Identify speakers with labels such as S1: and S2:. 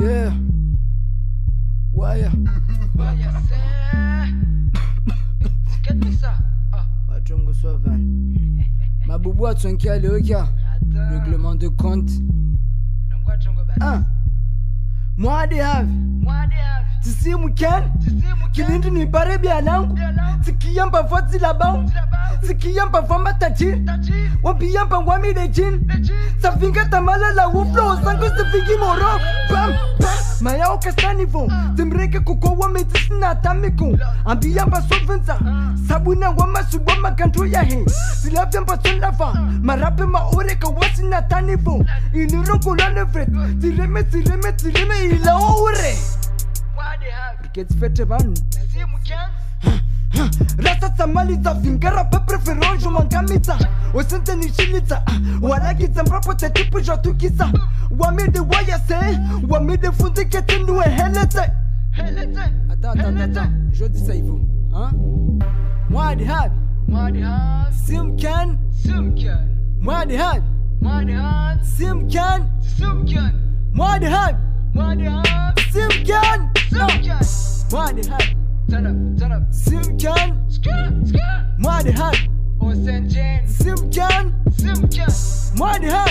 S1: Yeah. Waya.
S2: Waya se. Sikatme ça. Ah.
S1: Wachongo sovan. Mabubu atsonkia aliokia.
S2: Attends.
S1: Règlement de compte.
S2: Donc wachongo basi.
S1: Ah. Mwadi have.
S2: Mwade havi.
S1: Tisimu ken.
S2: Tisi mukeni.
S1: Kilindi nipare bia langu.
S2: Bia langu.
S1: Sikiyampa fotsi labau.
S2: Tila bao.
S1: Sikiyampa famba tachir.
S2: Tachi.
S1: Wapiyampa ngwami dejin.
S2: Lechi.
S1: Safinga tamala la wuflo Sango sifigi moro Bam bam Maya oka sanivo Timreke kuko wa medicina tamiko Ambia mba sovenza Sabuna wa masuwa makantu ya he Silavya mba sonlafa Marape maoreka wasina tanivo Ilirongo la nevret Tireme tireme tireme ila ore
S2: Mwade havi.
S1: Gets fete banu
S2: Tisi mukeni.
S1: rasa tsamalitsa vingera pepreferonjo mankamitsa osentenishilitsa walakitsa mrapote tipujwatukisa wamide wayase wamide funziketse nuweheletse
S2: Helete.
S1: jodisa ivo mwadi habi
S2: Mwade havi.
S1: simken
S2: Simkeni.
S1: mwadi habi
S2: Mwade havi.
S1: simken
S2: Simkeni.
S1: mwadi habi
S2: Mwade havi.
S1: simken
S2: Simkeni.
S1: mwadi habi
S2: Turn up. Turn up.
S1: simken
S2: Skr. Skr.
S1: mwadi habi
S2: Osenjen.
S1: simken
S2: Simkeni.
S1: mwadi habi